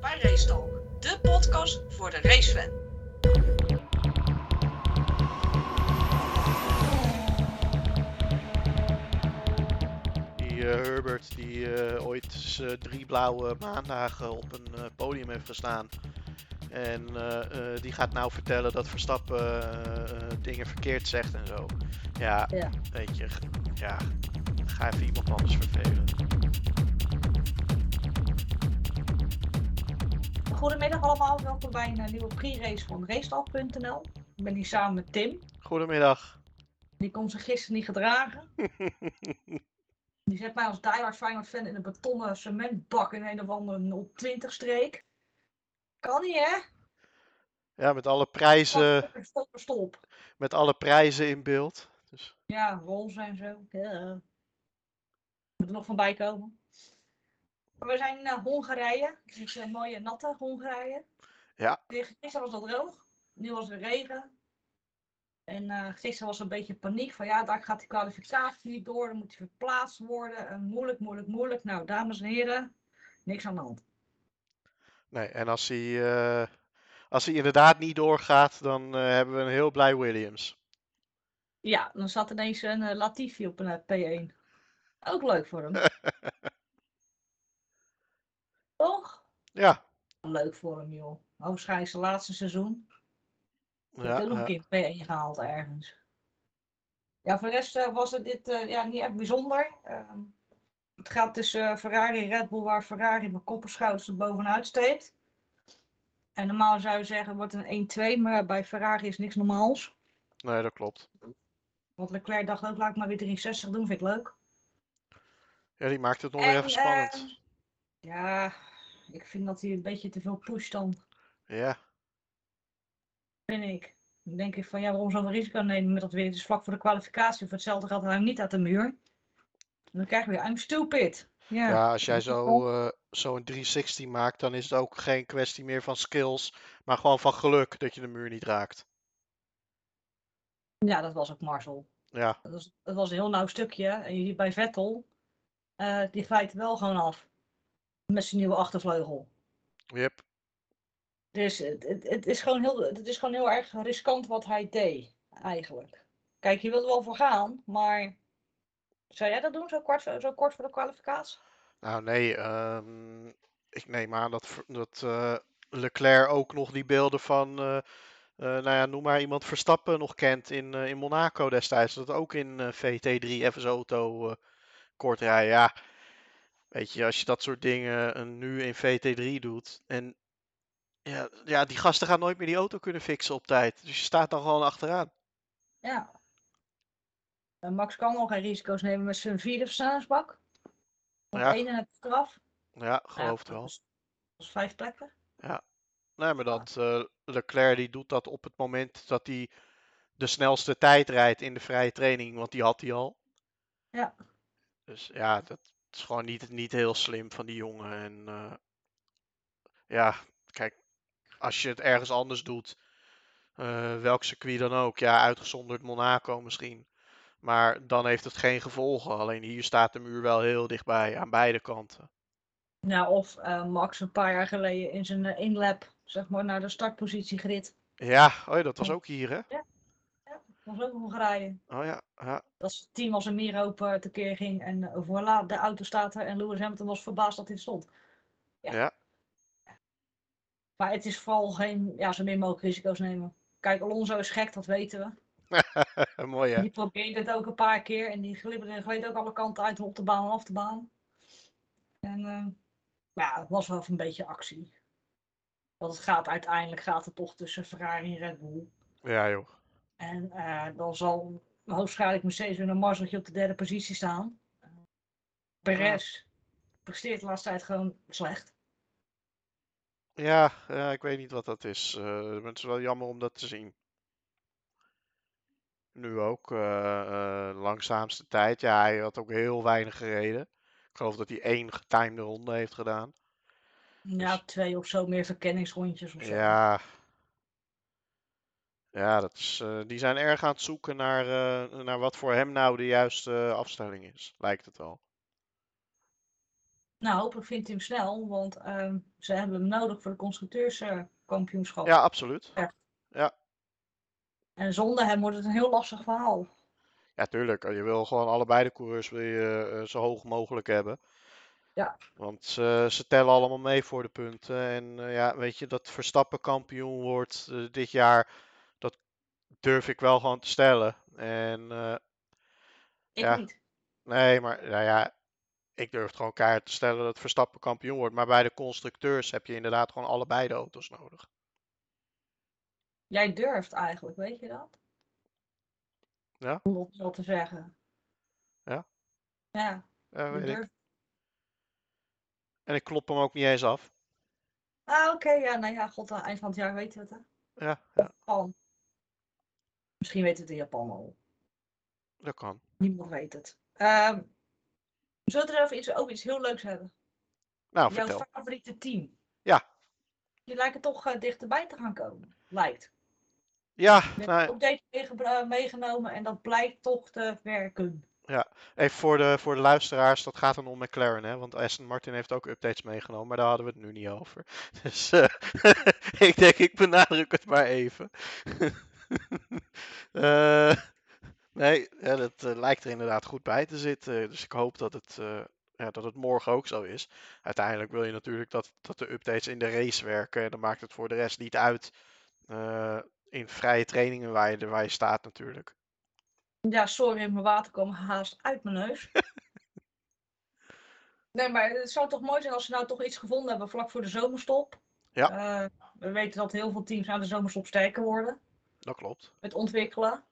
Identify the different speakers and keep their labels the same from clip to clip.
Speaker 1: bij Race Talk, de podcast voor de racefan.
Speaker 2: Die eh, Herbert die eh, ooit z- eh, drie blauwe maandagen op een eh, podium heeft gestaan. En eh, eh, die gaat nou vertellen dat Verstappen eh, eh, dingen verkeerd zegt en zo. Ja,
Speaker 3: Ja.
Speaker 2: weet je, g- ja, ga even iemand anders vervelen.
Speaker 3: Goedemiddag allemaal, welkom bij een eh, nieuwe pre-race van Racetal.nl. Ik ben hier samen met Tim,
Speaker 2: Goedemiddag.
Speaker 3: die kon zich gisteren niet gedragen. Die zet mij als diehard Feyenoord fan in een betonnen cementbak in een of andere 020 streek. Kan niet hè?
Speaker 2: Ja, met alle prijzen,
Speaker 3: Stop, Stop, stop.
Speaker 2: met alle prijzen in beeld. Dus,
Speaker 3: Ja, rolls en zo. Ja. Moet er nog van bij komen. Maar we zijn naar Hongarije. Dus ik zie mooie natte Hongarije.
Speaker 2: Ja.
Speaker 3: Tegen- Gisteren was dat droog. Nu was er regen. En eh, gisteren was er een beetje paniek van ja, daar gaat die kwalificatie niet door. Dan moet die verplaatst worden. En moeilijk, moeilijk, moeilijk. Nou, dames en heren, niks aan de hand.
Speaker 2: nee, en als hij, eh, als hij inderdaad niet doorgaat, dan eh, hebben we een heel blij Williams.
Speaker 3: Ja, dan zat ineens een eh, Latifi op een eh, P1. Ook leuk voor hem. Toch?
Speaker 2: Ja,
Speaker 3: Leuk voor hem, joh. Hoogstwaarschijnlijk zijn laatste seizoen. Ik
Speaker 2: ja,
Speaker 3: heb nog een
Speaker 2: ja.
Speaker 3: keer P1 gehaald ergens. Ja, voor de rest eh, was het dit, eh, ja, niet echt bijzonder. Ehm, het gaat tussen eh, Ferrari en Red Bull, waar Ferrari met kop en schouders er bovenuit steekt. En normaal zou je zeggen, wordt een 1-2, maar bij Ferrari is niks normaals.
Speaker 2: nee, dat klopt.
Speaker 3: Want Leclerc dacht ook, laat ik maar weer 360 doen, vind ik leuk.
Speaker 2: Ja, die maakt het nog weer
Speaker 3: En,
Speaker 2: even spannend.
Speaker 3: Ja, ik vind dat hij een beetje te veel pusht dan.
Speaker 2: Ja,
Speaker 3: vind ik. Dan denk ik van ja, waarom zoveel risico nemen met dat weer? Het is vlak voor de kwalificatie. Voor hetzelfde geld hangt niet uit de muur. En dan krijg je weer, I'm stupid. Ja,
Speaker 2: ja als jij
Speaker 3: dat is
Speaker 2: zo,
Speaker 3: wel-
Speaker 2: eh zo'n 360 maakt, dan is het ook geen kwestie meer van skills, maar gewoon van geluk dat je de muur niet raakt.
Speaker 3: ja, dat was ook Marcel.
Speaker 2: Ja,
Speaker 3: Dat was, dat was een heel nauw stukje. En je ziet bij Vettel, eh, die glijdt wel gewoon af. Met zijn nieuwe achtervleugel.
Speaker 2: yep.
Speaker 3: Dus het, het, het is gewoon heel, het is gewoon heel erg riskant wat hij deed, eigenlijk. Kijk, je wil er wel voor gaan, maar zou jij dat doen zo kort, zo kort voor de kwalificatie?
Speaker 2: Nou nee, ehm, ik neem aan dat, Ver- dat eh, Leclerc ook nog die beelden van, eh, eh, nou ja, noem maar iemand Verstappen nog kent in, eh, in Monaco destijds. Dat ook in eh, VT3 FS Auto eh, kort rijden. Ja, weet je, als je dat soort dingen eh, nu in VT3 doet en ja, ja, die gasten gaan nooit meer die auto kunnen fixen op tijd. Dus je staat dan gewoon achteraan.
Speaker 3: Ja. En Max kan al geen risico's nemen met zijn vierde versnellingsbak. Op
Speaker 2: Ja.
Speaker 3: één en het straf.
Speaker 2: Ja, geloof het wel.
Speaker 3: Dat is, dat is vijf plekken.
Speaker 2: Nee, maar dat eh, Leclerc die doet dat op het moment dat hij de snelste tijd rijdt in de vrije training, want die had hij al.
Speaker 3: Ja.
Speaker 2: Dus ja, dat is gewoon niet, niet heel slim van die jongen. En eh, ja, kijk, als je het ergens anders doet, eh, welk circuit dan ook, ja, uitgezonderd Monaco misschien. Maar dan heeft het geen gevolgen. Alleen hier staat de muur wel heel dichtbij, aan beide kanten.
Speaker 3: Nou, of eh, Max een paar jaar geleden in zijn eh, inlap, zeg maar, naar de startpositie gerit.
Speaker 2: Ja, oh ja, dat was
Speaker 3: Ja.
Speaker 2: ook hier, hè?
Speaker 3: Dat was ook Hongarije.
Speaker 2: Oh ja, ja.
Speaker 3: Dat het team als een mierenhoop eh, tekeer ging. En eh, voilà, de auto staat er. En Lewis Hamilton was verbaasd dat dit stond. Ja.
Speaker 2: Ja.
Speaker 3: Maar het is vooral geen, ja, zo min mogelijk risico's nemen. Kijk, Alonso is gek, dat weten we.
Speaker 2: mooi hè?
Speaker 3: Die probeert het ook een paar keer en die glibberde en gleed ook alle kanten uit, op de baan en af de baan. En eh, ja, het was wel even een beetje actie. Want het gaat uiteindelijk gaat het toch tussen Ferrari en Red Bull.
Speaker 2: Ja joh.
Speaker 3: En eh, dan zal hoogstwaarschijnlijk Mercedes weer een mazzeltje op de derde positie staan. Perez presteert de laatste tijd gewoon slecht.
Speaker 2: Ja, ja, ik weet niet wat dat is. Eh, het is wel jammer om dat te zien. Nu ook, eh, eh, langzaamste tijd. Ja, hij had ook heel weinig gereden. Ik geloof dat hij één getimede ronde heeft gedaan.
Speaker 3: Ja,
Speaker 2: Dus-
Speaker 3: twee of zo meer verkenningsrondjes of zo.
Speaker 2: Ja, ja dat is, eh, die zijn erg aan het zoeken naar, eh, naar wat voor hem nou de juiste eh, afstelling is, lijkt het wel.
Speaker 3: Nou, hopelijk vindt hij hem snel, want ehm, ze hebben hem nodig voor de eh, constructeurskampioenschap.
Speaker 2: Ja, absoluut.
Speaker 3: En zonder hem wordt het een heel lastig verhaal.
Speaker 2: Ja, tuurlijk. Je wil gewoon allebei de coureurs wil je, eh, zo hoog mogelijk hebben.
Speaker 3: Ja.
Speaker 2: Want ze, ze tellen allemaal mee voor de punten. En eh, ja, weet je, dat Verstappen kampioen wordt eh, dit jaar, dat durf ik wel gewoon te stellen. En eh,
Speaker 3: Ik
Speaker 2: Ja.
Speaker 3: niet.
Speaker 2: nee, maar nou ja, ik durf het gewoon keihard te stellen dat Verstappen kampioen wordt. Maar bij de constructeurs heb je inderdaad gewoon allebei de auto's nodig.
Speaker 3: Jij durft eigenlijk, weet je dat?
Speaker 2: Ja.
Speaker 3: Om dat zo te zeggen.
Speaker 2: Ja.
Speaker 3: Ja,
Speaker 2: Ja,
Speaker 3: je
Speaker 2: weet ik.
Speaker 3: durft.
Speaker 2: En ik klop hem ook niet eens af.
Speaker 3: Ah, oké, ja, nou ja, god, aan het eind van het jaar weten we het, hè?
Speaker 2: Ja,
Speaker 3: Of Japan. Misschien weten we het in Japan al.
Speaker 2: dat kan.
Speaker 3: Niemand weet het. Ehm zullen we er even iets, ook iets heel leuks hebben?
Speaker 2: Nou,
Speaker 3: Jouw
Speaker 2: vertel.
Speaker 3: favoriete team.
Speaker 2: Ja.
Speaker 3: Die lijken toch eh, dichterbij te gaan komen. Lijkt.
Speaker 2: Ja,
Speaker 3: Je hebt
Speaker 2: nou,
Speaker 3: ook deze meege- eh, meegenomen en dat blijkt toch te werken.
Speaker 2: Even voor de, voor de luisteraars, dat gaat dan om McLaren, hè? Want Aston Martin heeft ook updates meegenomen, maar daar hadden we het nu niet over. Dus eh, ik denk, ik benadruk het maar even. Eh, nee, ja, dat eh, lijkt er inderdaad goed bij te zitten. Dus ik hoop dat het, eh, ja, dat het morgen ook zo is. Uiteindelijk wil je natuurlijk dat, dat de updates in de race werken. En dan maakt het voor de rest niet uit eh, in vrije trainingen waar je, waar je staat natuurlijk.
Speaker 3: Ja, sorry, mijn water kwam haast uit mijn neus. nee, maar het zou toch mooi zijn als ze nou toch iets gevonden hebben vlak voor de zomerstop.
Speaker 2: Ja.
Speaker 3: Eh, we weten dat heel veel teams na de zomerstop sterker worden
Speaker 2: Dat klopt.
Speaker 3: met ontwikkelen.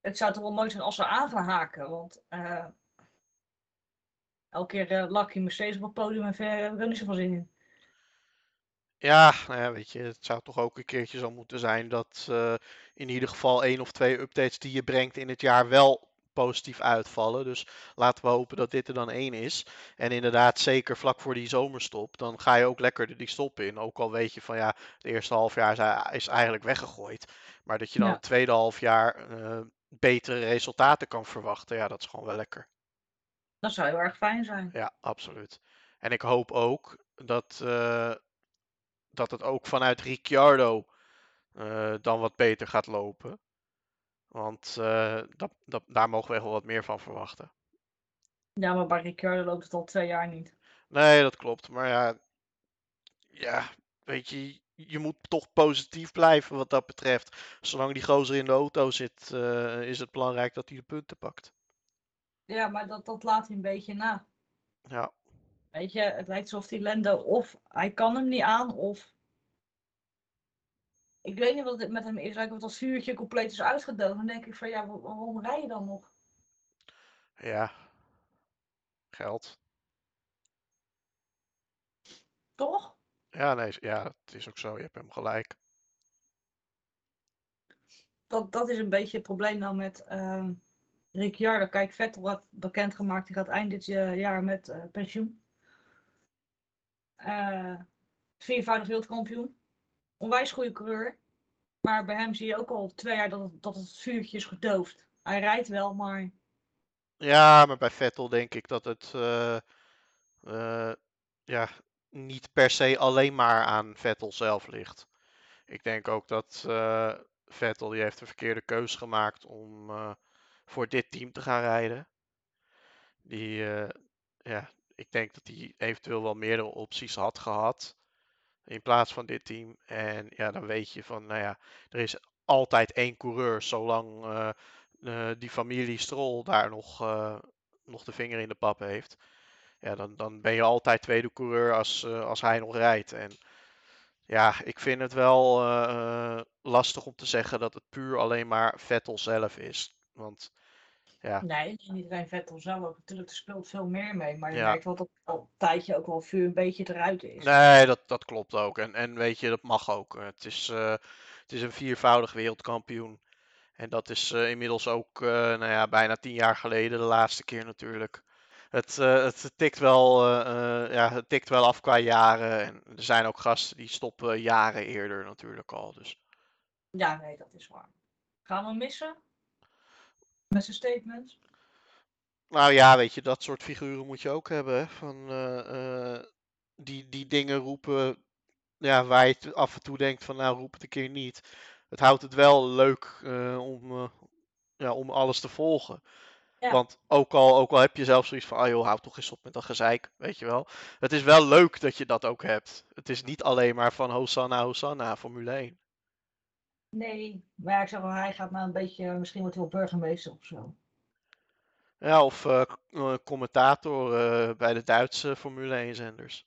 Speaker 3: Het zou toch wel mooi zijn als ze aan gaan haken, want eh, elke keer eh Lucky Mercedes op het podium en ver hebben we er niet zoveel zin in.
Speaker 2: Ja, nou ja, weet je, het zou toch ook een keertje zo moeten zijn dat eh, in ieder geval één of twee updates die je brengt in het jaar wel positief uitvallen. Dus laten we hopen dat dit er dan één is. En inderdaad, zeker vlak voor die zomerstop, dan ga je ook lekker de- die stop in. Ook al weet je van ja, het eerste half jaar is, ei- is eigenlijk weggegooid. Maar dat je dan
Speaker 3: Ja.
Speaker 2: het tweede half jaar eh, betere resultaten kan verwachten, ja, dat is gewoon wel lekker.
Speaker 3: Dat zou heel erg fijn zijn.
Speaker 2: Ja, absoluut. En ik hoop ook dat, eh, dat het ook vanuit Ricciardo eh, dan wat beter gaat lopen. Want eh, dat, dat, daar mogen we echt wel wat meer van verwachten.
Speaker 3: Ja, maar bij Ricciardo loopt het al twee jaar niet.
Speaker 2: Nee, dat klopt. Maar ja, ja, weet je, je moet toch positief blijven wat dat betreft. Zolang die gozer in de auto zit, eh, is het belangrijk dat hij de punten pakt.
Speaker 3: Ja, maar dat, dat laat hij een beetje na.
Speaker 2: Ja,
Speaker 3: Weet je, het lijkt alsof die Lando of hij kan hem niet aan of... Ik weet niet wat het met hem is, lijkt of dat vuurtje compleet is uitgedoofd. Dan denk ik van ja, wa- waarom rij je dan nog?
Speaker 2: ja. Geld.
Speaker 3: Toch?
Speaker 2: Ja, nee, ja, het is ook zo. Je hebt hem gelijk.
Speaker 3: Dat, dat is een beetje het probleem nou met ehm Ricciardo. Kijk, Vettel had bekendgemaakt, die gaat eind dit eh, jaar met eh, pensioen. Eh, viervoudig wereldkampioen. Onwijs goede coureur. Maar bij hem zie je ook al twee jaar dat het, dat het vuurtje is gedoofd. Hij rijdt wel, maar
Speaker 2: Ja, maar bij Vettel denk ik dat het eh, eh, ja, niet per se alleen maar aan Vettel zelf ligt. Ik denk ook dat eh, Vettel die heeft de verkeerde keus gemaakt om eh, voor dit team te gaan rijden. Die, eh, ja, ik denk dat hij eventueel wel meerdere opties had gehad in plaats van dit team. En ja, dan weet je van, nou ja, er is altijd één coureur zolang eh, eh, die familie Stroll daar nog, eh, nog de vinger in de pap heeft. Ja, dan, dan ben je altijd tweede coureur als, eh, als hij nog rijdt. En ja, ik vind het wel eh, eh, lastig om te zeggen dat het puur alleen maar Vettel zelf is. Want ja,
Speaker 3: nee, het is niet alleen Vettel zelf. Natuurlijk, er speelt veel meer mee. Maar je
Speaker 2: Ja.
Speaker 3: merkt wel dat al een tijdje ook wel vuur een beetje eruit is.
Speaker 2: Nee, dat, dat klopt ook. En, en weet je, dat mag ook. Eh, Het is, eh, het is een viervoudig wereldkampioen. En dat is eh, inmiddels ook eh, nou ja, bijna tien jaar geleden, de laatste keer natuurlijk. Het, eh, het, tikt wel, eh, eh, ja, het tikt wel af qua jaren. En er zijn ook gasten die stoppen jaren eerder natuurlijk al. Dus
Speaker 3: Ja, nee, dat is waar. Gaan we hem missen? Met zijn statements?
Speaker 2: Nou ja, weet je, dat soort figuren moet je ook hebben. Hè? Van, eh, eh, die, die dingen roepen ja, waar je t- af en toe denkt van nou roep het een keer niet. Het houdt het wel leuk eh, om, eh, ja, om alles te volgen.
Speaker 3: Ja.
Speaker 2: Want ook al, ook al heb je zelf zoiets van, ah joh, houd toch eens op met dat gezeik, weet je wel. Het is wel leuk dat je dat ook hebt. Het is niet alleen maar van Hosanna, Hosanna, Formule 1.
Speaker 3: Nee, maar ja, ik zeg wel, hij gaat nou een beetje, eh, misschien wordt hij wel burgemeester of zo.
Speaker 2: Ja, of eh, k- eh, commentator eh, bij de Duitse Formule 1 zenders.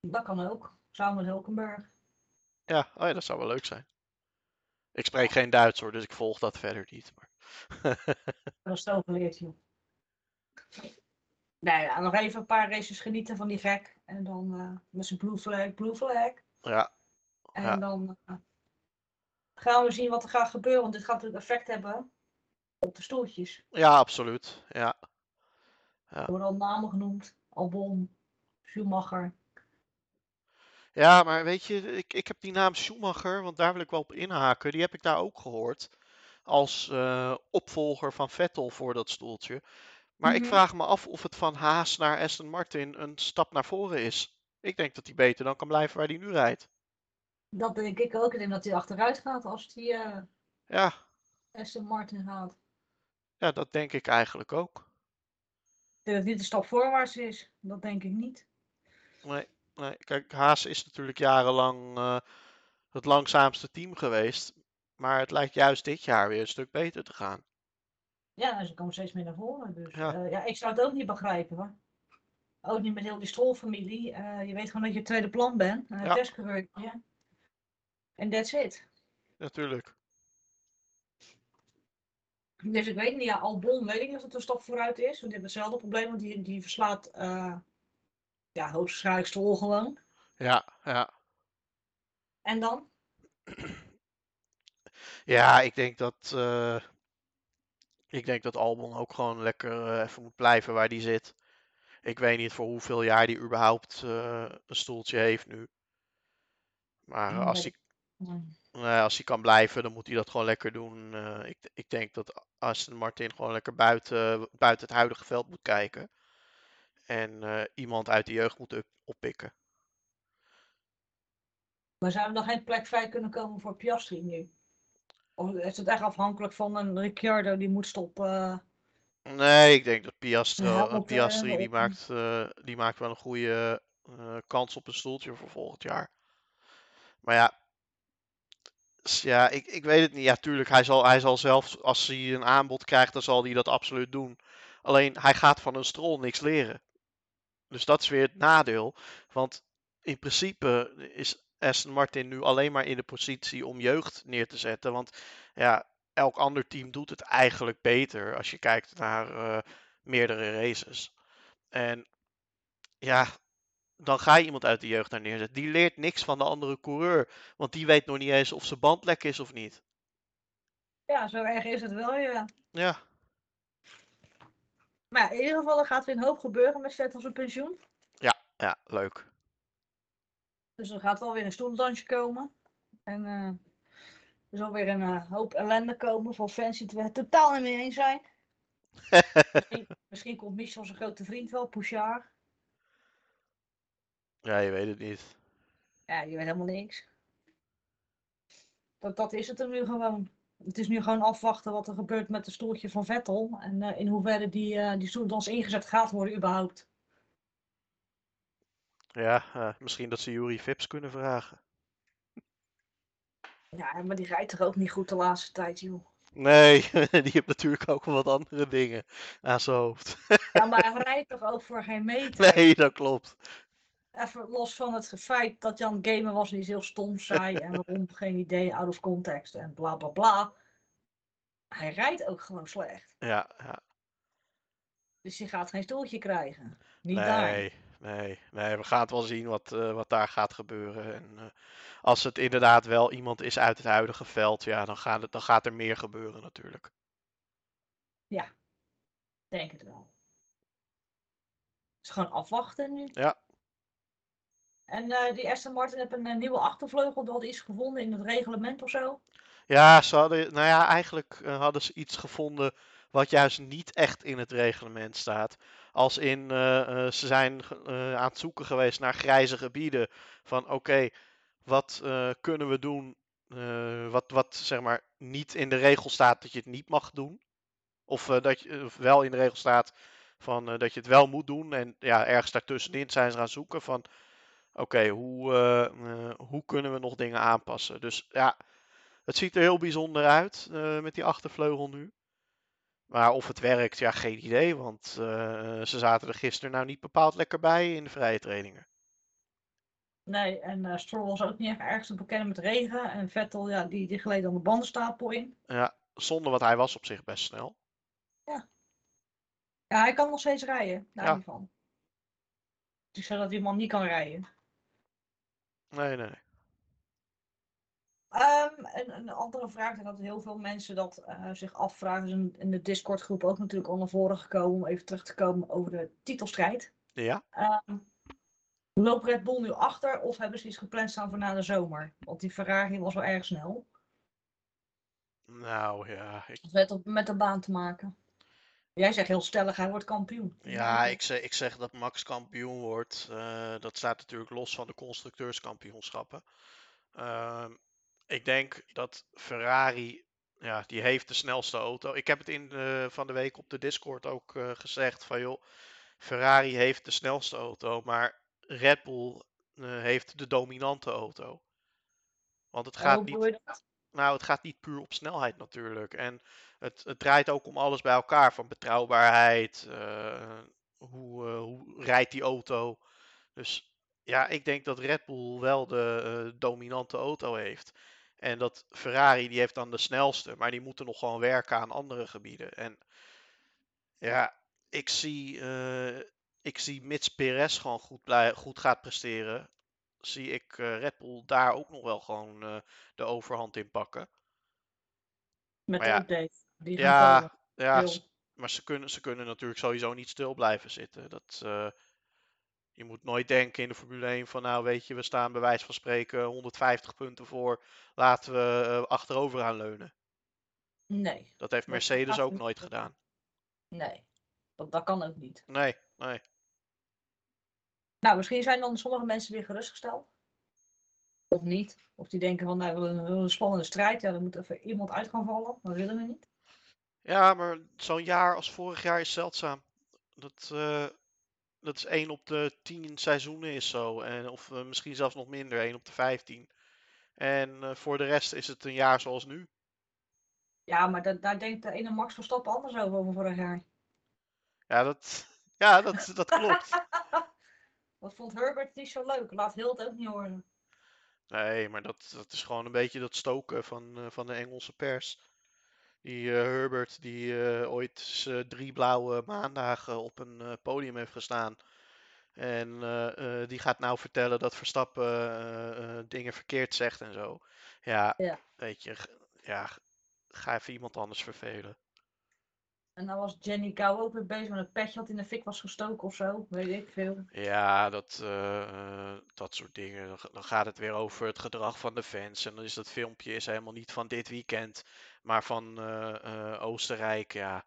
Speaker 3: Dat kan ook. Samen met Hulkenberg.
Speaker 2: Ja, oh ja, dat zou wel leuk zijn. Ik spreek geen Duits hoor, dus ik volg dat verder niet. Maar...
Speaker 3: Dat is het geleerd, joh. Nou ja, nog even een paar races genieten van die gek. En dan eh, met zijn blue flag, blue flag.
Speaker 2: Ja,
Speaker 3: En
Speaker 2: Ja.
Speaker 3: dan eh, gaan we zien wat er gaat gebeuren. Want dit gaat natuurlijk effect hebben op de stoeltjes.
Speaker 2: ja, absoluut. Ja.
Speaker 3: Er worden al namen genoemd. Albon, Schumacher.
Speaker 2: ja, maar weet je, ik, ik heb die naam Schumacher, want daar wil ik wel op inhaken. Die heb ik daar ook gehoord als eh, opvolger van Vettel voor dat stoeltje. Maar ik
Speaker 3: Mhm.
Speaker 2: vraag me af of het van Haas naar Aston Martin een stap naar voren is. Ik denk dat hij beter dan kan blijven waar hij nu rijdt.
Speaker 3: Dat denk ik ook. Ik denk dat hij achteruit gaat als hij eh
Speaker 2: Ja,
Speaker 3: Aston Martin haalt.
Speaker 2: ja, dat denk ik eigenlijk ook.
Speaker 3: Ik denk dat dit een stap voorwaarts is. Dat denk ik niet.
Speaker 2: Nee, nee. Kijk, Haas is natuurlijk jarenlang eh, het langzaamste team geweest. Maar het lijkt juist dit jaar weer een stuk beter te gaan.
Speaker 3: Ja, en ze komen steeds meer naar voren. Dus
Speaker 2: Ja.
Speaker 3: ja. ja, ik zou het ook niet begrijpen hoor. Ook niet met heel die strolfamilie. Eh, je weet gewoon dat je tweede plan bent. Uh,
Speaker 2: Ja.
Speaker 3: Testcoureur. ja. En that's it.
Speaker 2: Natuurlijk.
Speaker 3: Dus ik weet niet, ja, Albon weet ik niet of het een stap vooruit is. Want die hebben hetzelfde probleem, want die, die verslaat eh ja, hoogstwaarschijnlijk Stroll gewoon.
Speaker 2: Ja, ja.
Speaker 3: En dan?
Speaker 2: Ja, ik denk dat, eh, ik denk dat Albon ook gewoon lekker eh, even moet blijven waar hij zit. Ik weet niet voor hoeveel jaar hij überhaupt eh, een stoeltje heeft nu. Maar eh, als
Speaker 3: Nee.
Speaker 2: hij,
Speaker 3: Hmm.
Speaker 2: nou ja, als hij kan blijven, dan moet hij dat gewoon lekker doen. Eh, ik, ik denk dat Aston Martin gewoon lekker buiten, buiten het huidige veld moet kijken. En eh, iemand uit de jeugd moet op- oppikken.
Speaker 3: Maar zou er nog geen plek vrij kunnen komen voor Piastri nu? Of is het echt afhankelijk van een Ricciardo die moet stoppen? eh,
Speaker 2: Nee, ik denk dat Piastro, eh,
Speaker 3: Hamilton,
Speaker 2: Piastri die
Speaker 3: Hamilton.
Speaker 2: maakt, eh, die maakt wel een goede eh, kans op een stoeltje voor volgend jaar. Maar ja, s- ja ik, ik weet het niet. Ja, tuurlijk, hij zal, hij zal zelf, als hij een aanbod krijgt, dan zal hij dat absoluut doen. Alleen, hij gaat van een strol niks leren. Dus dat is weer het nadeel. Want in principe is Aston Martin nu alleen maar in de positie om jeugd neer te zetten. Want ja, elk ander team doet het eigenlijk beter als je kijkt naar eh, meerdere races. En ja, dan ga je iemand uit de jeugd daar neerzetten. Die leert niks van de andere coureur, want die weet nog niet eens of zijn band lek is of niet.
Speaker 3: Ja, zo erg is het wel, ja.
Speaker 2: Ja,
Speaker 3: Maar ja, in ieder geval er gaat weer een hoop gebeuren met Vettel zijn pensioen.
Speaker 2: ja, leuk.
Speaker 3: Dus er gaat wel weer een stoeldansje komen. En eh, er zal weer een eh, hoop ellende komen van fans die het er totaal niet mee eens zijn. misschien, misschien komt Michel zijn grote vriend wel, Pouchard.
Speaker 2: Ja, je weet het niet.
Speaker 3: Ja, je weet helemaal niks. Dat, dat is het er nu gewoon. Het is nu gewoon afwachten wat er gebeurt met de stoeltje van Vettel. En eh, in hoeverre die, eh die stoeldans ingezet gaat worden überhaupt.
Speaker 2: Ja, eh, misschien dat ze Jury Vips kunnen vragen.
Speaker 3: Ja, maar die rijdt er ook niet goed de laatste tijd, joh.
Speaker 2: Nee, die heeft natuurlijk ook wel wat andere dingen aan zijn hoofd.
Speaker 3: Ja, maar hij rijdt toch ook voor geen meter?
Speaker 2: Nee, dat klopt.
Speaker 3: Even los van het feit dat Jan Gamer was, die is heel stom, saai en waarom, geen idee, out of context en bla bla bla. Hij rijdt ook gewoon slecht.
Speaker 2: Ja, ja.
Speaker 3: Dus je gaat geen stoeltje krijgen. Niet daar.
Speaker 2: Nee, nee, nee, we gaan het wel zien wat, eh, wat daar gaat gebeuren. En eh, als het inderdaad wel iemand is uit het huidige veld, ja, dan, gaan het, dan gaat er meer gebeuren natuurlijk.
Speaker 3: Denk het wel. Dus gewoon afwachten nu.
Speaker 2: Ja.
Speaker 3: En eh, die Aston Martin heeft een eh, nieuwe achtervleugel, dat is gevonden in het reglement of zo.
Speaker 2: Ja, ze hadden, nou ja, eigenlijk eh, hadden ze iets gevonden Wat juist niet echt in het reglement staat. Als in eh, eh, ze zijn ge- eh, aan het zoeken geweest naar grijze gebieden. Van oké, wat eh, kunnen we doen? eh, wat, wat zeg maar niet in de regel staat dat je het niet mag doen. Of eh, dat je of wel in de regel staat van eh, dat je het wel moet doen. En ja, ergens daartussenin zijn ze gaan zoeken van oké, hoe, eh, eh, hoe kunnen we nog dingen aanpassen? Dus ja, het ziet er heel bijzonder uit eh, met die achtervleugel nu. Maar of het werkt, ja, geen idee. Want eh, ze zaten er gisteren nou niet bepaald lekker bij in de vrije trainingen.
Speaker 3: Nee, en eh Stroll was ook niet echt ergens te bekennen met regen. En Vettel, ja, die, die gleed dan de bandenstapel in.
Speaker 2: Ja, zonde, want hij was op zich best snel.
Speaker 3: Ja, hij kan nog steeds rijden, daar
Speaker 2: Ja.
Speaker 3: niet van. Dus ik zeg dat die man niet kan rijden.
Speaker 2: Nee, nee, nee.
Speaker 3: Ehm, en een andere vraag, en dat heel veel mensen dat eh, zich afvragen, is in, in de Discord groep ook natuurlijk al naar voren gekomen, om even terug te komen over de titelstrijd.
Speaker 2: Ja,
Speaker 3: Ehm, loopt Red Bull nu achter of hebben ze iets gepland staan voor na de zomer? Want die Ferrari was wel erg snel.
Speaker 2: nou ja. Ik,
Speaker 3: Dat heeft op- met de baan te maken. Jij zegt heel stellig, hij wordt kampioen.
Speaker 2: ja, ik zeg, ik zeg dat Max kampioen wordt. Eh, dat staat natuurlijk los van de constructeurskampioenschappen. Ehm, ik denk dat Ferrari, ja, die heeft de snelste auto. Ik heb het in de, van de week op de Discord ook eh, gezegd van joh, Ferrari heeft de snelste auto, maar Red Bull eh, heeft de dominante auto. Want het gaat
Speaker 3: Oh,
Speaker 2: niet.
Speaker 3: bedoel je dat?
Speaker 2: Nou, het gaat niet puur op snelheid natuurlijk. En het, het draait ook om alles bij elkaar. Van betrouwbaarheid, eh, hoe, eh, hoe rijdt die auto. Dus ja, ik denk dat Red Bull wel de eh, dominante auto heeft. En dat Ferrari, die heeft dan de snelste. Maar die moeten nog gewoon werken aan andere gebieden. En ja, ik zie, eh, ik zie mits Perez gewoon goed, blij- goed gaat presteren... zie ik eh, Red Bull daar ook nog wel gewoon... eh, de overhand in pakken.
Speaker 3: Met
Speaker 2: Maar
Speaker 3: de
Speaker 2: ja.
Speaker 3: update. Die gaan
Speaker 2: Ja,
Speaker 3: komen.
Speaker 2: ja
Speaker 3: Wil.
Speaker 2: s- maar ze kunnen, ze kunnen natuurlijk sowieso niet stil blijven zitten. Dat, eh, je moet nooit denken in de Formule 1 van nou weet je, we staan bij wijze van spreken 150 punten voor, laten we eh, achterover gaan leunen.
Speaker 3: Nee,
Speaker 2: Dat heeft
Speaker 3: Nee, dat
Speaker 2: Mercedes
Speaker 3: gaat
Speaker 2: ook
Speaker 3: niet
Speaker 2: nooit
Speaker 3: lukken.
Speaker 2: gedaan.
Speaker 3: nee. Dat, dat kan ook niet.
Speaker 2: Nee, nee.
Speaker 3: Nou, misschien zijn dan sommige mensen weer gerustgesteld. Of niet. Of die denken van, nou, we willen we willen een spannende strijd. Ja, dan moet even iemand uit gaan vallen. Dat willen we niet.
Speaker 2: Ja, maar zo'n jaar als vorig jaar is zeldzaam. Dat, eh, dat is 1 op de 10 seizoenen is zo. En, of eh, misschien zelfs nog minder, 1 op de 15. En eh, voor de rest is het een jaar zoals nu.
Speaker 3: Ja, maar da- daar denkt de ene Max Verstappen anders over over vorig jaar.
Speaker 2: Ja, dat, ja, dat, dat klopt.
Speaker 3: Dat vond Herbert niet zo leuk. Laat Hild ook niet horen.
Speaker 2: Nee, maar dat, dat is gewoon een beetje dat stoken van, eh, van de Engelse pers. Die eh, Herbert, die eh, ooit eens, eh, drie blauwe maandagen op een eh, podium heeft gestaan. En eh, eh, die gaat nou vertellen dat Verstappen eh, eh, dingen verkeerd zegt en zo. Ja,
Speaker 3: Ja.
Speaker 2: weet je, g- ja, g- ga even iemand anders vervelen.
Speaker 3: En dan was Jenny Kou ook weer bezig met een petje dat in de fik was gestoken of zo. Weet ik veel.
Speaker 2: Ja, dat, eh, eh, dat soort dingen. Dan, ga- dan gaat het weer over het gedrag van de fans. En dan is dat filmpje is helemaal niet van dit weekend, maar van eh, eh, Oostenrijk. Ja.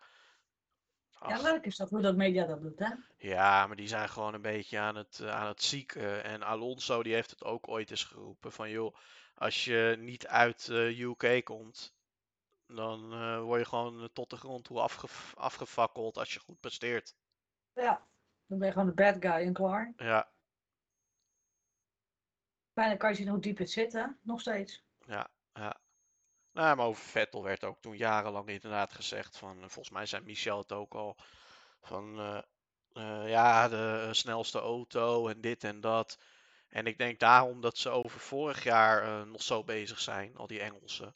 Speaker 3: Ja,
Speaker 2: Ach,
Speaker 3: leuk is dat hoe dat media dat doet, hè?
Speaker 2: ja, maar die zijn gewoon een beetje aan het, eh, aan het zieken. En Alonso die heeft het ook ooit eens geroepen van joh, als je niet uit eh UK komt, dan eh, word je gewoon tot de grond toe afgef- afgefakkeld als je goed presteert.
Speaker 3: Ja. Dan ben je gewoon de bad guy en klaar.
Speaker 2: Ja,
Speaker 3: Bijna kan je zien hoe diep het zit, hè? Nog steeds.
Speaker 2: Ja, ja. Nou, maar over Vettel werd ook toen jarenlang inderdaad gezegd van, eh, volgens mij zei Michel het ook al, van eh, eh, ja, de eh, snelste auto en dit en dat. En ik denk daarom dat ze over vorig jaar eh, nog zo bezig zijn, al die Engelsen.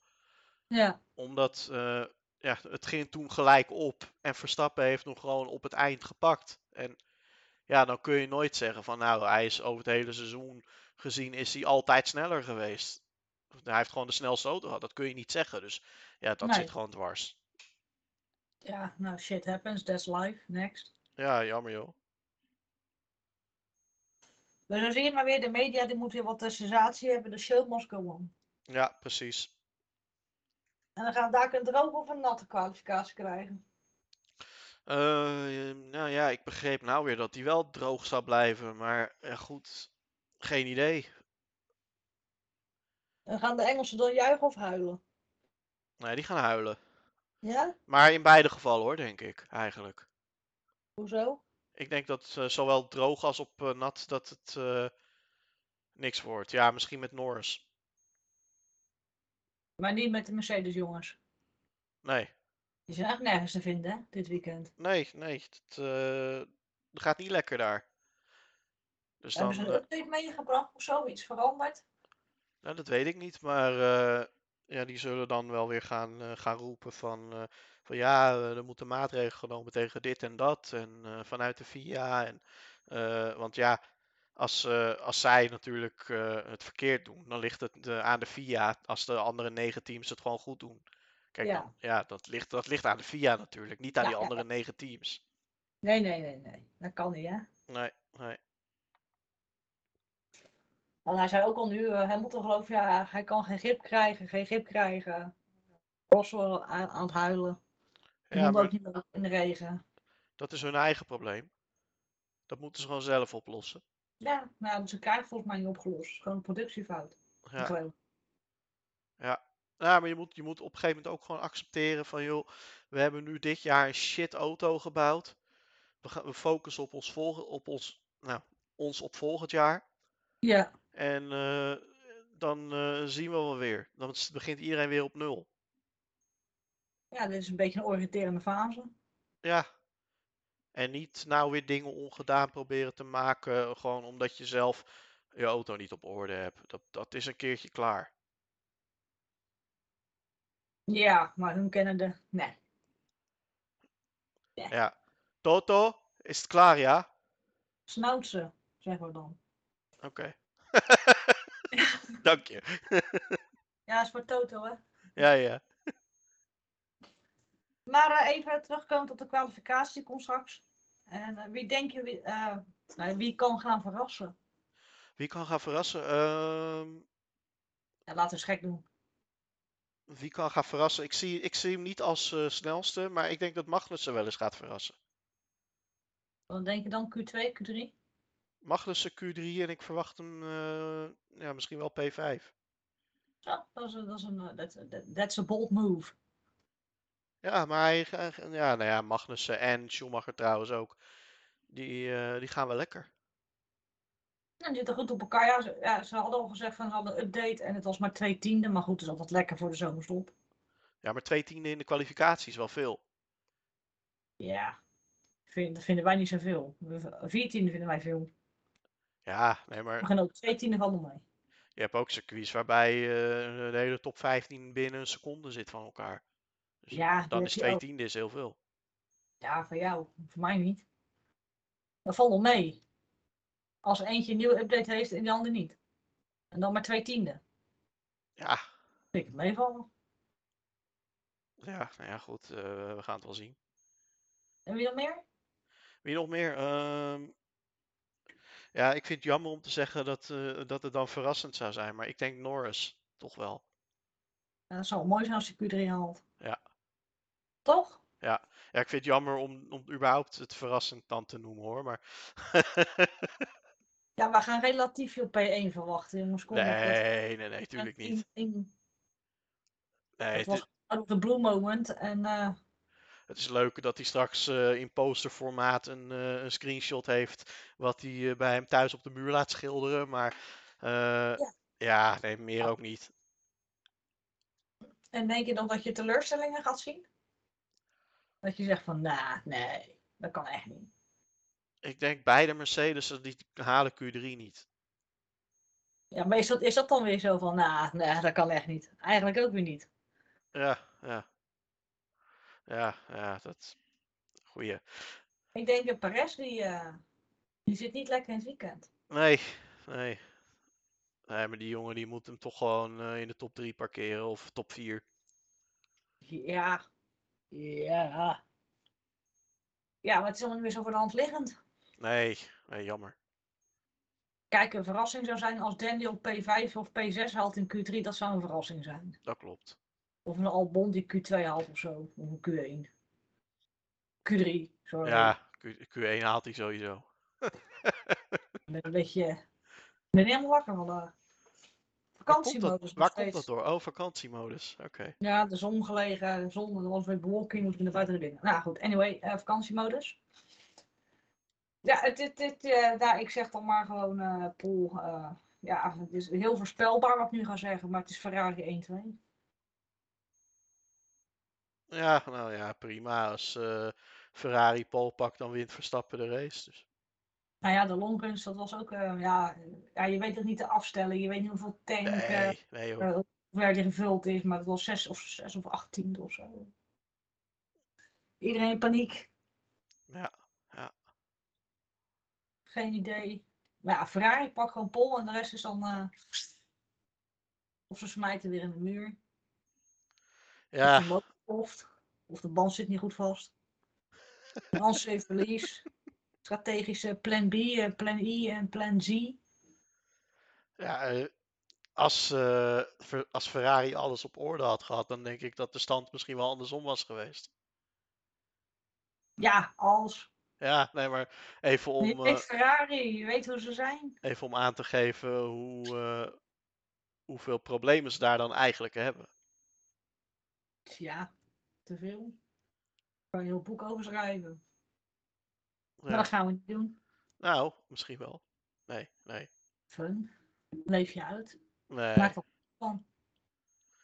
Speaker 3: Ja.
Speaker 2: Omdat eh, ja, het ging toen gelijk op en Verstappen heeft hem gewoon op het eind gepakt. En ja, dan kun je nooit zeggen van nou, hij is over het hele seizoen gezien is hij altijd sneller geweest. Hij heeft gewoon de snelste auto gehad, dat kun je niet zeggen. Dus ja, dat
Speaker 3: Nee.
Speaker 2: zit gewoon dwars.
Speaker 3: Ja, nou shit happens, that's life, next.
Speaker 2: Ja, jammer joh.
Speaker 3: Maar zo zie je maar weer, de media die moet weer wat eh, sensatie hebben, de show must go on.
Speaker 2: Ja, precies.
Speaker 3: En dan gaan we daar een droge of een natte kwalificatie krijgen.
Speaker 2: Eh, nou ja, ik begreep nou weer dat die wel droog zou blijven. Maar eh, goed, geen idee.
Speaker 3: En gaan de Engelsen dan juichen of huilen?
Speaker 2: Nee, die gaan huilen.
Speaker 3: Ja?
Speaker 2: Maar in beide gevallen hoor, denk ik eigenlijk.
Speaker 3: Hoezo?
Speaker 2: Ik denk dat eh, zowel droog als op eh, nat dat het eh, niks wordt. Ja, misschien met Norris.
Speaker 3: Maar niet met de Mercedes jongens.
Speaker 2: Nee,
Speaker 3: Die zijn echt nergens te vinden hè, dit weekend.
Speaker 2: nee, nee. Het eh, gaat niet lekker daar. Dus dan,
Speaker 3: Hebben ze
Speaker 2: eh,
Speaker 3: een update meegebracht of zo? Iets veranderd?
Speaker 2: Nou, dat weet ik niet, maar eh, ja, die zullen dan wel weer gaan, eh, gaan roepen van, eh, van ja, eh, er moeten maatregelen genomen tegen dit en dat en eh, vanuit de VIA. En, eh, want ja, als, eh, als zij natuurlijk eh, het verkeerd doen, dan ligt het eh, aan de VIA als de andere negen teams het gewoon goed doen. Kijk,
Speaker 3: Ja.
Speaker 2: dan, ja, dat ligt, dat ligt aan de VIA natuurlijk, niet aan
Speaker 3: Ja,
Speaker 2: die
Speaker 3: ja,
Speaker 2: andere negen teams.
Speaker 3: Nee, nee, nee, nee. Dat kan niet, hè?
Speaker 2: Nee, nee.
Speaker 3: Want hij zei ook al nu, eh, Hamilton geloof ik, ja, hij kan geen grip krijgen, geen grip krijgen. Roswell aan, aan het huilen. Ja,
Speaker 2: Ja, maar
Speaker 3: ook niet meer in de regen.
Speaker 2: dat is hun eigen probleem. Dat moeten ze gewoon zelf oplossen.
Speaker 3: Ja, nou, dat is een kaart volgens mij niet opgelost. Gewoon een productiefout.
Speaker 2: Ja.
Speaker 3: Gewoon.
Speaker 2: Ja, maar je moet, je moet op een gegeven moment ook gewoon accepteren van, joh, we hebben nu dit jaar een shit auto gebouwd. We, gaan, we focussen op ons, volgen, op ons, nou, ons op volgend jaar.
Speaker 3: Ja,
Speaker 2: En eh, dan eh, zien we wel weer. Dan s- begint iedereen weer op nul.
Speaker 3: ja, dit is een beetje een oriënterende fase.
Speaker 2: Ja. En niet nou weer dingen ongedaan proberen te maken, gewoon omdat je zelf je auto niet op orde hebt. Dat, dat is een keertje klaar.
Speaker 3: Ja, maar hun kennen de. Nee.
Speaker 2: Ja. Toto, is het klaar, ja?
Speaker 3: Snout ze, zeggen we dan.
Speaker 2: Oké. Dank je.
Speaker 3: Ja, is voor Toto, hè?
Speaker 2: Ja, ja.
Speaker 3: Maar eh, even terugkomend op de kwalificatie, die komt straks. En eh, wie denk je, wie, eh, nou, wie kan gaan verrassen?
Speaker 2: Wie kan gaan verrassen? Ehm,
Speaker 3: Ja, laten we eens gek doen.
Speaker 2: wie kan gaan verrassen? Ik zie, ik zie hem niet als eh, snelste, maar ik denk dat Magnussen wel eens gaat verrassen.
Speaker 3: Dan denk je dan Q2, Q3?
Speaker 2: Magnussen Q3 en ik verwacht hem eh, ja, misschien wel P5.
Speaker 3: Zo, dat is, een- dat is een, eh, dat, dat- that's a bold move.
Speaker 2: Ja, maar hij, ga- ga- ja, nou ja, Magnussen en Schumacher trouwens ook. Die, eh, die gaan wel lekker.
Speaker 3: Nou, die zitten goed op elkaar. Ja, ze, ja, ze hadden al gezegd van ze hadden een update en het was maar twee tienden. Maar goed, dat is altijd lekker voor de zomerstop.
Speaker 2: Ja, maar twee tienden in de kwalificatie is wel veel.
Speaker 3: Ja, vind, dat vinden wij niet zoveel. We- Vier tienden vinden wij veel.
Speaker 2: Ja, nee,
Speaker 3: We
Speaker 2: maar
Speaker 3: gaan ook twee tienden van mee.
Speaker 2: je hebt ook circuits waarbij eh, de hele top 15 binnen een seconde zit van elkaar. Dus
Speaker 3: Ja, die
Speaker 2: dan
Speaker 3: heb
Speaker 2: is
Speaker 3: je
Speaker 2: twee
Speaker 3: ook.
Speaker 2: tienden is heel veel.
Speaker 3: Ja, voor jou. Voor mij niet. Dat valt wel mee. Als eentje een nieuwe update heeft en de ander niet. En dan maar twee tienden.
Speaker 2: Ja,
Speaker 3: Vind ik het meevallen.
Speaker 2: ja, nou ja, goed, eh, we gaan het wel zien.
Speaker 3: En wie dan meer?
Speaker 2: Wie nog meer? Ehm, ja, ik vind het jammer om te zeggen dat, eh, dat het dan verrassend zou zijn. Maar ik denk Norris toch wel.
Speaker 3: Ja, dat zou wel mooi zijn als je Q3 haalt.
Speaker 2: Ja.
Speaker 3: Toch?
Speaker 2: Ja, ik vind het jammer om, om überhaupt het verrassend dan te noemen hoor. Maar
Speaker 3: Ja, we gaan relatief veel P1 verwachten, jongens. Kom op, dat-
Speaker 2: nee, nee, nee, tuurlijk
Speaker 3: dat
Speaker 2: niet.
Speaker 3: ding- ding.
Speaker 2: Nee,
Speaker 3: Het
Speaker 2: het,
Speaker 3: was
Speaker 2: is,
Speaker 3: out of the blue moment. En eh,
Speaker 2: het is leuk dat hij straks eh, in posterformaat een, eh, een screenshot heeft. Wat hij eh, bij hem thuis op de muur laat schilderen. Maar eh, ja. nee, meer ook niet.
Speaker 3: En denk je dan dat je teleurstellingen gaat zien? Dat je zegt van, nou, nee, dat kan echt niet.
Speaker 2: Ik denk beide Mercedes die halen Q3 niet.
Speaker 3: Ja, maar is dat, is dat dan weer zo van, nou, nee, dat kan echt niet. Eigenlijk ook weer niet.
Speaker 2: Ja, ja. Ja, ja, dat. Goeie.
Speaker 3: Ik denk dat Perez, die, eh, die zit niet lekker in het weekend.
Speaker 2: Nee, nee. Nee, maar die jongen die moet hem toch gewoon eh, in de top 3 parkeren of top 4.
Speaker 3: Ja. Ja. Ja, maar het is allemaal niet meer zo voor de hand liggend.
Speaker 2: Nee, nee, jammer.
Speaker 3: Kijk, een verrassing zou zijn als Daniel P5 of P6 haalt in Q3. Dat zou een verrassing zijn.
Speaker 2: Dat klopt.
Speaker 3: Of een Albon die Q2 haalt of zo. Of een Q1. Q3. Zo
Speaker 2: Ja, Q, Q1 haalt hij sowieso.
Speaker 3: Ik ben een beetje. Ik ben helemaal wakker vandaag.
Speaker 2: Waar komt dat,
Speaker 3: Vakantiemodus nog
Speaker 2: waar komt
Speaker 3: steeds.
Speaker 2: dat door? Oh, vakantiemodus. Oké.
Speaker 3: Ja, de zon gelegen, de zon, er was weer bewolking, dus ik ben naar buiten en naar binnen. Nou goed, anyway, eh, vakantiemodus. Ja, het, het, het, eh, nou, ik zeg dan maar gewoon, eh Paul, eh, ja, het is heel voorspelbaar wat ik nu ga zeggen, maar het is Ferrari 1-2.
Speaker 2: Ja, nou ja, prima. Als eh, Ferrari pole pakt, dan wint Verstappen de race. Dus.
Speaker 3: Nou ja, de longruns, dat was ook, eh, ja, ja, je weet het niet te afstellen, je weet niet hoeveel tank, eh,
Speaker 2: Nee, nee hoor.
Speaker 3: eh, hoe ver die gevuld is, maar het was 6 of, 6 of 18 of zo. Iedereen in paniek.
Speaker 2: Ja, ja.
Speaker 3: Geen idee. Maar ja, Ferrari pakt gewoon pol en de rest is dan. eh, of ze smijten weer in de muur. Of,
Speaker 2: Ja,
Speaker 3: de motor ploft, of de band zit niet goed vast. Hans heeft verlies. Strategische plan B, eh, plan I en plan Z.
Speaker 2: ja eh, als, eh, Fer- als Ferrari alles op orde had gehad, dan denk ik dat de stand misschien wel andersom was geweest.
Speaker 3: Ja, als.
Speaker 2: Ja, nee, maar even om,
Speaker 3: je
Speaker 2: eh,
Speaker 3: weet Ferrari, je weet hoe ze zijn.
Speaker 2: even om aan te geven hoe, eh, hoeveel problemen ze daar dan eigenlijk hebben.
Speaker 3: Ja, te veel. Daar kan je een heel boek over schrijven. Maar
Speaker 2: Ja.
Speaker 3: dat gaan we niet doen.
Speaker 2: Nou, misschien wel. Nee, nee,
Speaker 3: Fun. Leef je uit.
Speaker 2: nee.
Speaker 3: Maak er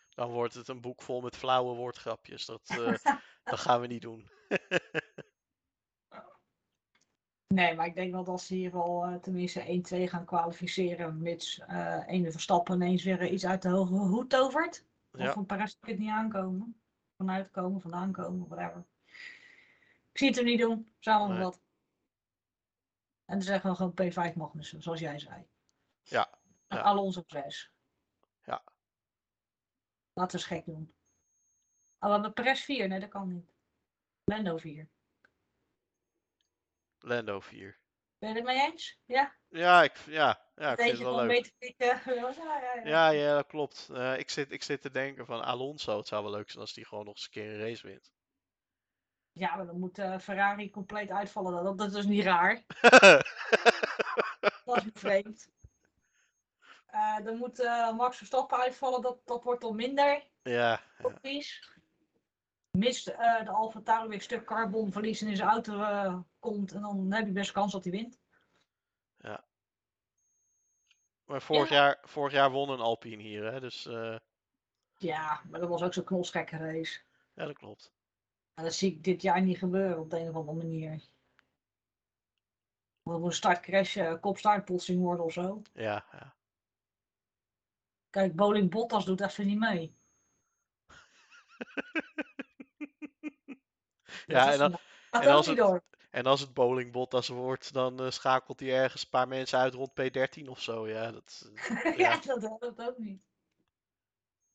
Speaker 2: Dan wordt het een boek vol met flauwe woordgrapjes. Dat, eh, dat gaan we niet doen.
Speaker 3: Nee, maar ik denk wel dat ze hier wel eh, tenminste 1-2 gaan kwalificeren. Mits eh ene Verstappen ineens weer eh, iets uit de hoge hoed tovert. Of
Speaker 2: Ja,
Speaker 3: een Perez kan het niet aankomen. Vanuit komen, vandaan komen, whatever. Ik zie het hem niet doen. Samen
Speaker 2: Nee.
Speaker 3: wat. En dan zeggen we gewoon P5 Magnussen, zoals jij zei.
Speaker 2: Ja,
Speaker 3: En
Speaker 2: ja.
Speaker 3: Alonso 6.
Speaker 2: Ja.
Speaker 3: Laten we eens gek doen. Oh, we hebben Perez 4. Nee, dat kan niet. Lando 4.
Speaker 2: Lando 4.
Speaker 3: Ben je het mee eens? Ja?
Speaker 2: Ja, ik, v- ja, ja, ik
Speaker 3: Weet
Speaker 2: vind
Speaker 3: je
Speaker 2: het wel
Speaker 3: wel
Speaker 2: leuk.
Speaker 3: beter klikken. Ja, ja, ja.
Speaker 2: Ja, ja, dat klopt. Eh, ik, zit, ik zit te denken van Alonso. Het zou wel leuk zijn als die gewoon nog eens een keer een race wint.
Speaker 3: Ja, maar dan moet eh, Ferrari compleet uitvallen. Dat, dat is niet raar. Dat is niet vreemd. Eh, dan moet eh, Max Verstappen uitvallen. Dat, dat wordt dan minder.
Speaker 2: ja, ja,
Speaker 3: Precies. Mist eh, de Alfa Tauri weer een stuk carbonverlies in zijn auto eh, komt. En dan heb je best kans dat hij wint.
Speaker 2: maar vorig, Jaar, vorig jaar won een Alpine hier, hè? Dus eh,
Speaker 3: Ja, maar dat was ook zo'n knotsgekke race.
Speaker 2: ja, dat klopt.
Speaker 3: En dat zie ik dit jaar niet gebeuren op de een of andere manier. Dan moet een startcrash, eh, kopstartbotsing worden of zo.
Speaker 2: Ja, ja.
Speaker 3: Kijk, Bowling Bottas doet even niet mee.
Speaker 2: Ja, en,
Speaker 3: dat
Speaker 2: dan,
Speaker 3: is- gaat
Speaker 2: en
Speaker 3: ook
Speaker 2: als
Speaker 3: niet
Speaker 2: het-
Speaker 3: door.
Speaker 2: en als het bowling Bottas wordt, dan eh, schakelt hij ergens een paar mensen uit rond P13 of zo. Ja, dat, eh,
Speaker 3: ja,
Speaker 2: ja,
Speaker 3: dat helpt ook niet.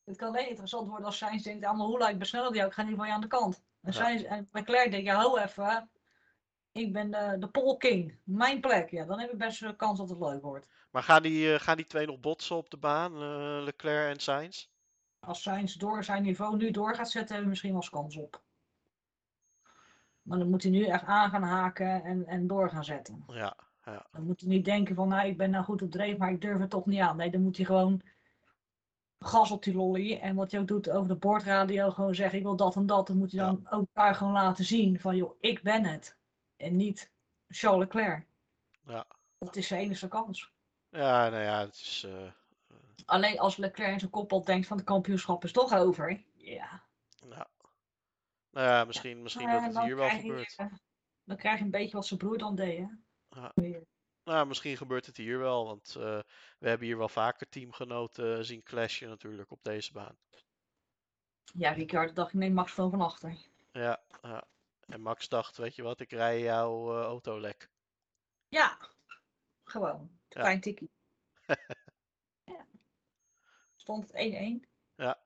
Speaker 3: Het kan alleen interessant worden als Sainz denkt, allemaal hoe laat ik besneller die ook, ik ga niet van je aan de kant. En,
Speaker 2: Ja.
Speaker 3: Sainz, en Leclerc denkt, ja ho even, ik ben de, de pole king, mijn plek. Ja, dan heb je best een kans dat het leuk wordt.
Speaker 2: Maar gaan die, eh, gaan die twee nog botsen op de baan, eh, Leclerc en Sainz?
Speaker 3: Als Sainz door zijn niveau nu door gaat zetten, hebben we misschien wel eens kans op. Maar dan moet hij nu echt aan gaan haken en, en door gaan zetten.
Speaker 2: Ja,
Speaker 3: Dan moet hij niet denken van, nou, ik ben nou goed op dreef, maar ik durf het toch niet aan. Nee, dan moet hij gewoon gas op die lolly. En wat hij ook doet over de bordradio, gewoon zeggen, ik wil dat en dat. Dan moet hij
Speaker 2: Ja.
Speaker 3: dan ook daar gewoon laten zien van, joh, ik ben het. En niet Charles Leclerc.
Speaker 2: Ja.
Speaker 3: Dat is zijn enige kans.
Speaker 2: ja nou ja, het is... eh,
Speaker 3: Alleen als Leclerc in zijn kop al denkt van, de kampioenschap is toch over. Ja.
Speaker 2: nou, nou ja, misschien, misschien
Speaker 3: Eh,
Speaker 2: dat het
Speaker 3: dan
Speaker 2: hier wel
Speaker 3: krijg je,
Speaker 2: gebeurt.
Speaker 3: eh, dan krijg je een beetje wat zijn broer dan deed, hè.
Speaker 2: Nou, misschien gebeurt het hier wel, want eh, we hebben hier wel vaker teamgenoten eh, zien clashen natuurlijk op deze baan.
Speaker 3: Ja, Ricard dacht ik, nee, Max van van achter.
Speaker 2: Ja, ja. En Max dacht, weet je wat, ik rij jouw eh, auto lek.
Speaker 3: Ja, gewoon.
Speaker 2: Ja.
Speaker 3: Klein tikkie. ja. Stond het 1-1.
Speaker 2: Ja.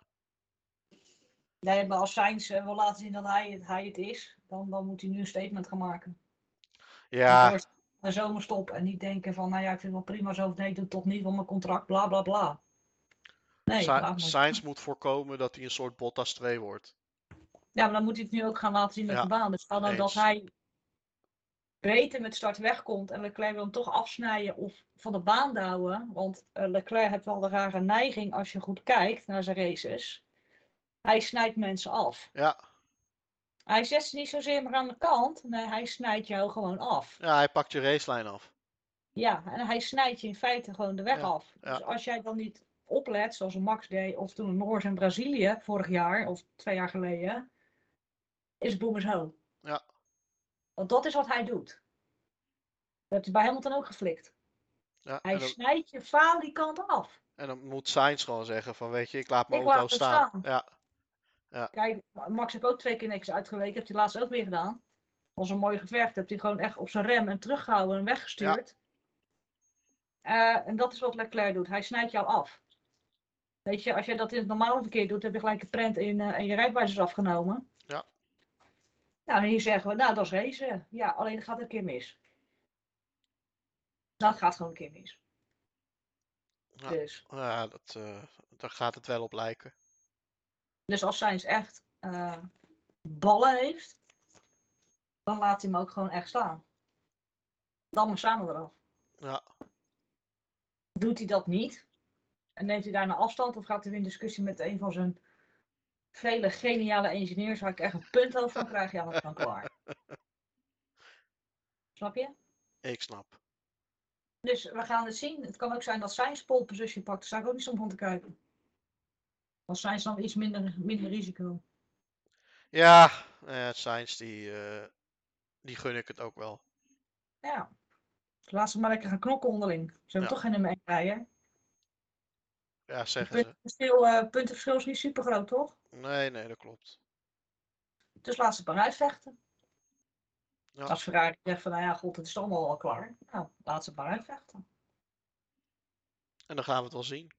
Speaker 3: Nee, maar als Sainz eh, wil laten zien dat hij het, hij het is, dan, dan moet hij nu een statement gaan maken.
Speaker 2: Ja,
Speaker 3: Voor De zomerstop en niet denken van, nou ja, ik vind het wel prima zo, of nee, ik doe het toch niet, want mijn contract, bla bla bla. Nee,
Speaker 2: Sa-
Speaker 3: laat maar.
Speaker 2: Sainz moet voorkomen dat hij een soort Bottas 2 wordt.
Speaker 3: Ja, maar dan moet hij het nu ook gaan laten zien met
Speaker 2: Ja,
Speaker 3: de baan. Dus stel nou dat
Speaker 2: eens.
Speaker 3: hij beter met start wegkomt en Leclerc wil hem toch afsnijden of van de baan houden. Want eh, Leclerc heeft wel de rare neiging als je goed kijkt naar zijn races. Hij snijdt mensen af.
Speaker 2: Ja.
Speaker 3: Hij zet ze niet zozeer maar aan de kant. Nee, hij snijdt jou gewoon af.
Speaker 2: Ja, hij pakt je racelijn af.
Speaker 3: Ja, en hij snijdt je in feite gewoon de weg
Speaker 2: Ja,
Speaker 3: af.
Speaker 2: ja.
Speaker 3: Dus als jij dan niet oplet, zoals een Max deed, of toen een Noors in Brazilië vorig jaar of twee jaar geleden, is boemers home.
Speaker 2: Ja.
Speaker 3: Want dat is wat hij doet. Dat heeft hij bij Hamilton ook geflikt.
Speaker 2: Ja,
Speaker 3: Hij
Speaker 2: en, dan,
Speaker 3: snijdt je falikant af.
Speaker 2: en dan moet Sainz gewoon zeggen van weet je, ik laat mijn
Speaker 3: Ik laat
Speaker 2: auto
Speaker 3: het
Speaker 2: staan.
Speaker 3: staan.
Speaker 2: Ja,
Speaker 3: Kijk, Max heeft ook twee keer niks uitgeleken. Heeft hij laatst ook weer gedaan. was een mooi gevecht. Heeft hij gewoon echt op zijn rem en teruggehouden en weggestuurd. Eh, en dat is wat Leclerc doet. Hij snijdt jou af. Weet je, als jij dat in het normale verkeer doet, heb je gelijk een prent in, eh, en je rijbewijs is afgenomen.
Speaker 2: Ja.
Speaker 3: Nou, en hier zeggen we, nou, dat is racen. Ja, alleen dat gaat een keer mis. Dat gaat gewoon een keer mis.
Speaker 2: Ja.
Speaker 3: Dus.
Speaker 2: nou ja dat, eh, daar gaat het wel op lijken.
Speaker 3: Dus als Sainz echt eh, ballen heeft, dan laat hij hem ook gewoon echt staan. Dan maar samen eraf.
Speaker 2: Ja.
Speaker 3: Doet hij dat niet? En neemt hij daarna afstand of gaat hij weer in discussie met een van zijn vele geniale ingenieurs waar ik echt een punt over van krijg? Ja, dat is dan klaar. Snap je?
Speaker 2: Ik snap.
Speaker 3: Dus we gaan het zien. Het kan ook zijn dat Sainz pole position pakt. Daar sta ik ook niet zo van te kijken. Want Sainz dan iets minder, minder risico.
Speaker 2: Ja, eh Sainz die, eh, die gun ik het ook wel.
Speaker 3: Ja. Dus Laat ze maar lekker gaan knokken onderling. Ze hebben
Speaker 2: Ja.
Speaker 3: toch geen nummer 1 rijden.
Speaker 2: Ja, zeggen ze.
Speaker 3: Puntenverschil, eh, puntenverschil is niet super groot, toch?
Speaker 2: Nee, nee, dat klopt.
Speaker 3: Dus laat ze het maar uitvechten.
Speaker 2: Ja.
Speaker 3: Als Ferrari zegt van, nou ja, god, het is allemaal al klaar. Nou, laat ze het maar uitvechten.
Speaker 2: En dan gaan we het wel zien.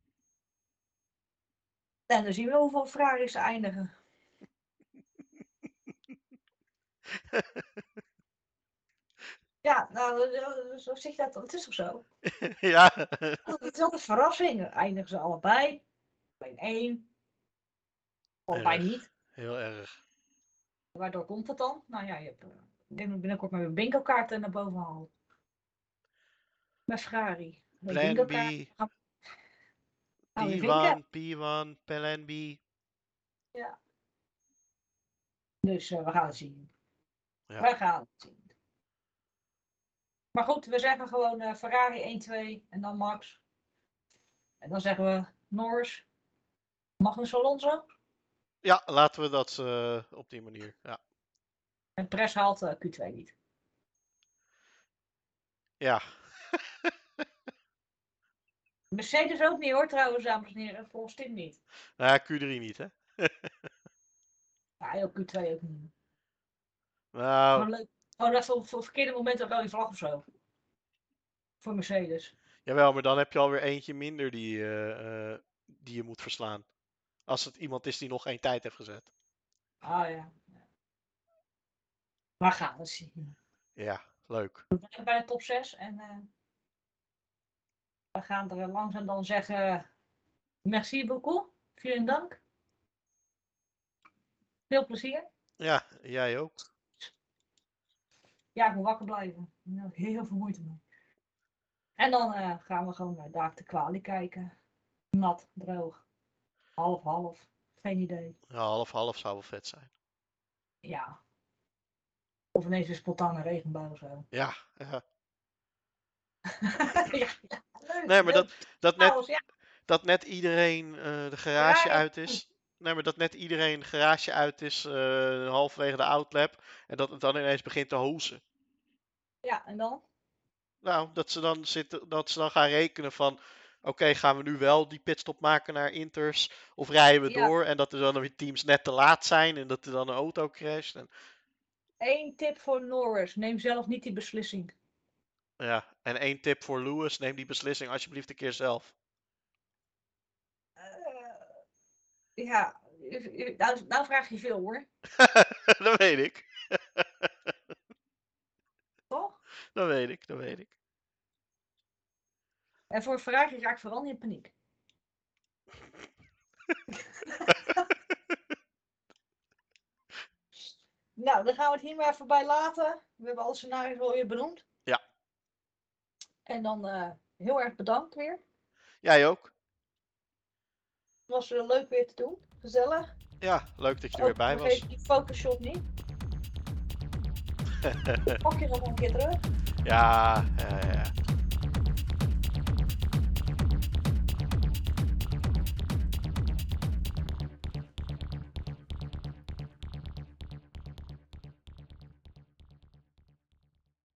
Speaker 3: En dan zien we hoeveel Ferraris er eindigen. ja, nou, eh, zo zit dat. Het is toch zo?
Speaker 2: ja,
Speaker 3: Het is altijd een verrassing. Dan Eindigen ze allebei. Bij een één. Of bij
Speaker 2: Erg.
Speaker 3: niet.
Speaker 2: heel erg.
Speaker 3: Waardoor komt dat dan? Nou ja, je hebt, eh, ik denk dat ik binnenkort maar weer bingo-kaarten naar boven haal. Met Ferrari. Met
Speaker 2: Plan B,
Speaker 3: bingo-kaarten gaan gaan we vinken.
Speaker 2: P1, P1, Plan B.
Speaker 3: Dus eh, we gaan het zien.
Speaker 2: Ja.
Speaker 3: We gaan het zien. Maar goed, we zeggen gewoon eh, Ferrari 1, 2 en dan Max. En dan zeggen we Norris. Magnus Alonso.
Speaker 2: Ja, laten we dat eh, op die manier. Ja.
Speaker 3: En Perez haalt eh, Q2 niet.
Speaker 2: ja.
Speaker 3: Mercedes ook niet hoor trouwens, dames en heren. Volgens Tim niet.
Speaker 2: Nou ja, Q3 niet, hè?
Speaker 3: Ja, ook Q2 ook niet.
Speaker 2: Nou,
Speaker 3: Gewoon leuk. Gewoon even op het verkeerde moment een rode vlag of zo. Voor Mercedes.
Speaker 2: jawel, maar dan heb je alweer eentje minder die, eh, eh, die je moet verslaan. Als het iemand is die nog geen tijd heeft gezet.
Speaker 3: Ah ja. Maar gaan we zien.
Speaker 2: Ja, leuk.
Speaker 3: We blijven bij de top 6 en eh, we gaan er langzaam dan zeggen merci beaucoup. Vielen dank. Veel plezier.
Speaker 2: Ja, jij ook.
Speaker 3: Ja, ik moet wakker blijven. Ik ben er heel veel moeite mee. En dan eh, gaan we gewoon naar Daak de Kwali kijken. Nat, droog. Half, half. Geen idee.
Speaker 2: Ja, half-half zou wel vet zijn.
Speaker 3: Ja. Of ineens een spontane regenbui of zo.
Speaker 2: Ja, ja.
Speaker 3: ja, ja, leuk,
Speaker 2: Nee, maar
Speaker 3: leuk.
Speaker 2: dat, dat, net,
Speaker 3: Trouwens, ja,
Speaker 2: dat net iedereen eh, de garage
Speaker 3: ja.
Speaker 2: uit is. Nee, maar dat net iedereen de garage uit is eh, halverwege de outlap. En dat het dan ineens begint te hozen.
Speaker 3: ja, en dan?
Speaker 2: Nou, dat ze dan, zitten, dat ze dan gaan rekenen van... Oké, gaan we nu wel die pitstop maken naar Inters? Of rijden we
Speaker 3: Ja.
Speaker 2: door? En dat er dan weer teams net te laat zijn. En dat er dan een auto crasht. En,
Speaker 3: Eén tip voor Norris. Neem zelf niet die beslissing.
Speaker 2: ja. en één tip voor Lewis. Neem die beslissing alsjeblieft een keer zelf.
Speaker 3: Eh, ja, u- u- nou, nou vraag je veel hoor.
Speaker 2: dat weet ik.
Speaker 3: Toch?
Speaker 2: Dat weet ik. Dat weet ik.
Speaker 3: En voor vragen raak ik vooral niet in paniek. Nou, dan gaan we het hier maar even bij laten. We hebben alle scenario's wel weer benoemd.
Speaker 2: Ja.
Speaker 3: En dan eh, heel erg bedankt weer.
Speaker 2: Jij ook?
Speaker 3: Het was weer leuk weer te doen. Gezellig.
Speaker 2: Ja, leuk dat je er
Speaker 3: Ook
Speaker 2: weer bij was.
Speaker 3: vergeet die Photoshop niet. Pak je nog een keer terug.
Speaker 2: Ja, ja, ja.